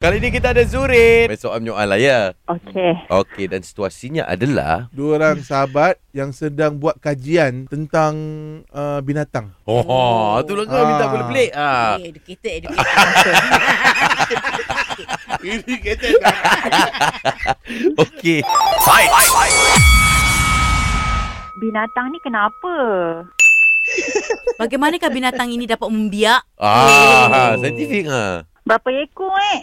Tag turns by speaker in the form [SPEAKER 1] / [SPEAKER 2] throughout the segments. [SPEAKER 1] Kali ni kita ada Zurin. Besok Am Nyoal lah ya.
[SPEAKER 2] Okey.
[SPEAKER 1] Okey dan situasinya adalah
[SPEAKER 3] dua orang sahabat yang sedang buat kajian tentang uh, binatang.
[SPEAKER 1] Oh, oh. tu lah kau minta
[SPEAKER 3] Ah.
[SPEAKER 1] boleh pelik. Ah.
[SPEAKER 4] Eh, educated, educated.
[SPEAKER 3] Ini kata
[SPEAKER 1] Okey.
[SPEAKER 2] Binatang ni kenapa?
[SPEAKER 4] Bagaimanakah binatang ini dapat membiak?
[SPEAKER 1] Ah, saintifik ah.
[SPEAKER 2] Berapa ekor eh?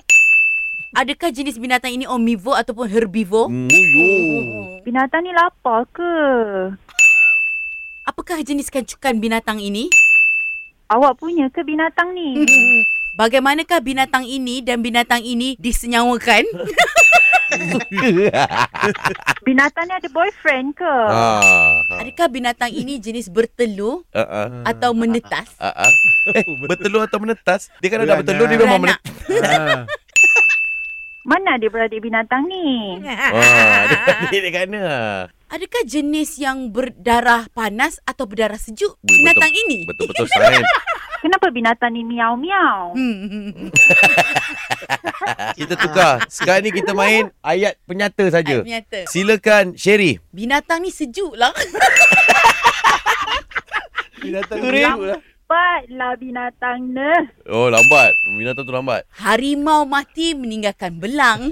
[SPEAKER 4] Adakah jenis binatang ini omnivore ataupun herbivore?
[SPEAKER 1] Hmm.
[SPEAKER 2] Binatang ni lapar ke?
[SPEAKER 4] Apakah jenis kancukan binatang ini?
[SPEAKER 2] Awak punya ke binatang ni?
[SPEAKER 4] Bagaimanakah binatang ini dan binatang ini disenyawakan?
[SPEAKER 2] binatang ni ada boyfriend ke?
[SPEAKER 1] Ah.
[SPEAKER 4] Adakah binatang ini jenis bertelur
[SPEAKER 1] Ah. ah,
[SPEAKER 4] atau menetas?
[SPEAKER 1] ah, ah. Eh, bertelur atau menetas? Dia kan ada
[SPEAKER 3] Beranak.
[SPEAKER 1] bertelur dia memang
[SPEAKER 4] Beranak.
[SPEAKER 1] menetas.
[SPEAKER 2] Mana dia beradik binatang ni?
[SPEAKER 1] Ah, dia, dia ah. dekat mana?
[SPEAKER 4] Adakah jenis yang berdarah panas atau berdarah sejuk?
[SPEAKER 1] Betul-
[SPEAKER 4] Binatang ini?
[SPEAKER 1] Betul-betul sains.
[SPEAKER 2] Kenapa binatang ni miau-miau?
[SPEAKER 4] Hmm.
[SPEAKER 1] Kita tukar. Sekarang ni kita main ayat penyata saja.
[SPEAKER 4] Ternyata.
[SPEAKER 1] Silakan Sherry.
[SPEAKER 4] Binatang ni sejuk lah.
[SPEAKER 3] binatang
[SPEAKER 1] Zurin.
[SPEAKER 3] hidup lah.
[SPEAKER 2] Cepatlah binatang ni.
[SPEAKER 1] Oh, lambat. Minata tu lambat.
[SPEAKER 4] Harimau mati meninggalkan belang.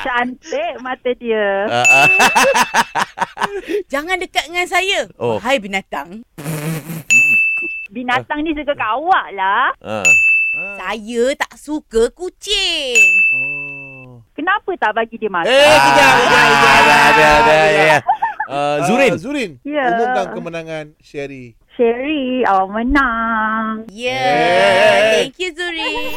[SPEAKER 2] Cantik mata dia.
[SPEAKER 1] Ah, ah.
[SPEAKER 4] Jangan dekat dengan saya.
[SPEAKER 1] Oh.
[SPEAKER 4] Oh. Hai binatang.
[SPEAKER 2] Binatang ni suka kat awak lah.
[SPEAKER 1] Ah.
[SPEAKER 4] Saya tak suka kucing.
[SPEAKER 3] Oh.
[SPEAKER 2] Kenapa tak bagi dia makan?
[SPEAKER 1] Eh, kejap, kejap,
[SPEAKER 2] Ah,
[SPEAKER 1] kejap. Ada, ada, ada. ada, ada. Uh, Zurin.
[SPEAKER 3] Ah, Zurin.
[SPEAKER 2] Ya.
[SPEAKER 3] Umumkan kemenangan Sherry.
[SPEAKER 2] Sherry, awak menang.
[SPEAKER 4] Yeah. Thank you Zuri.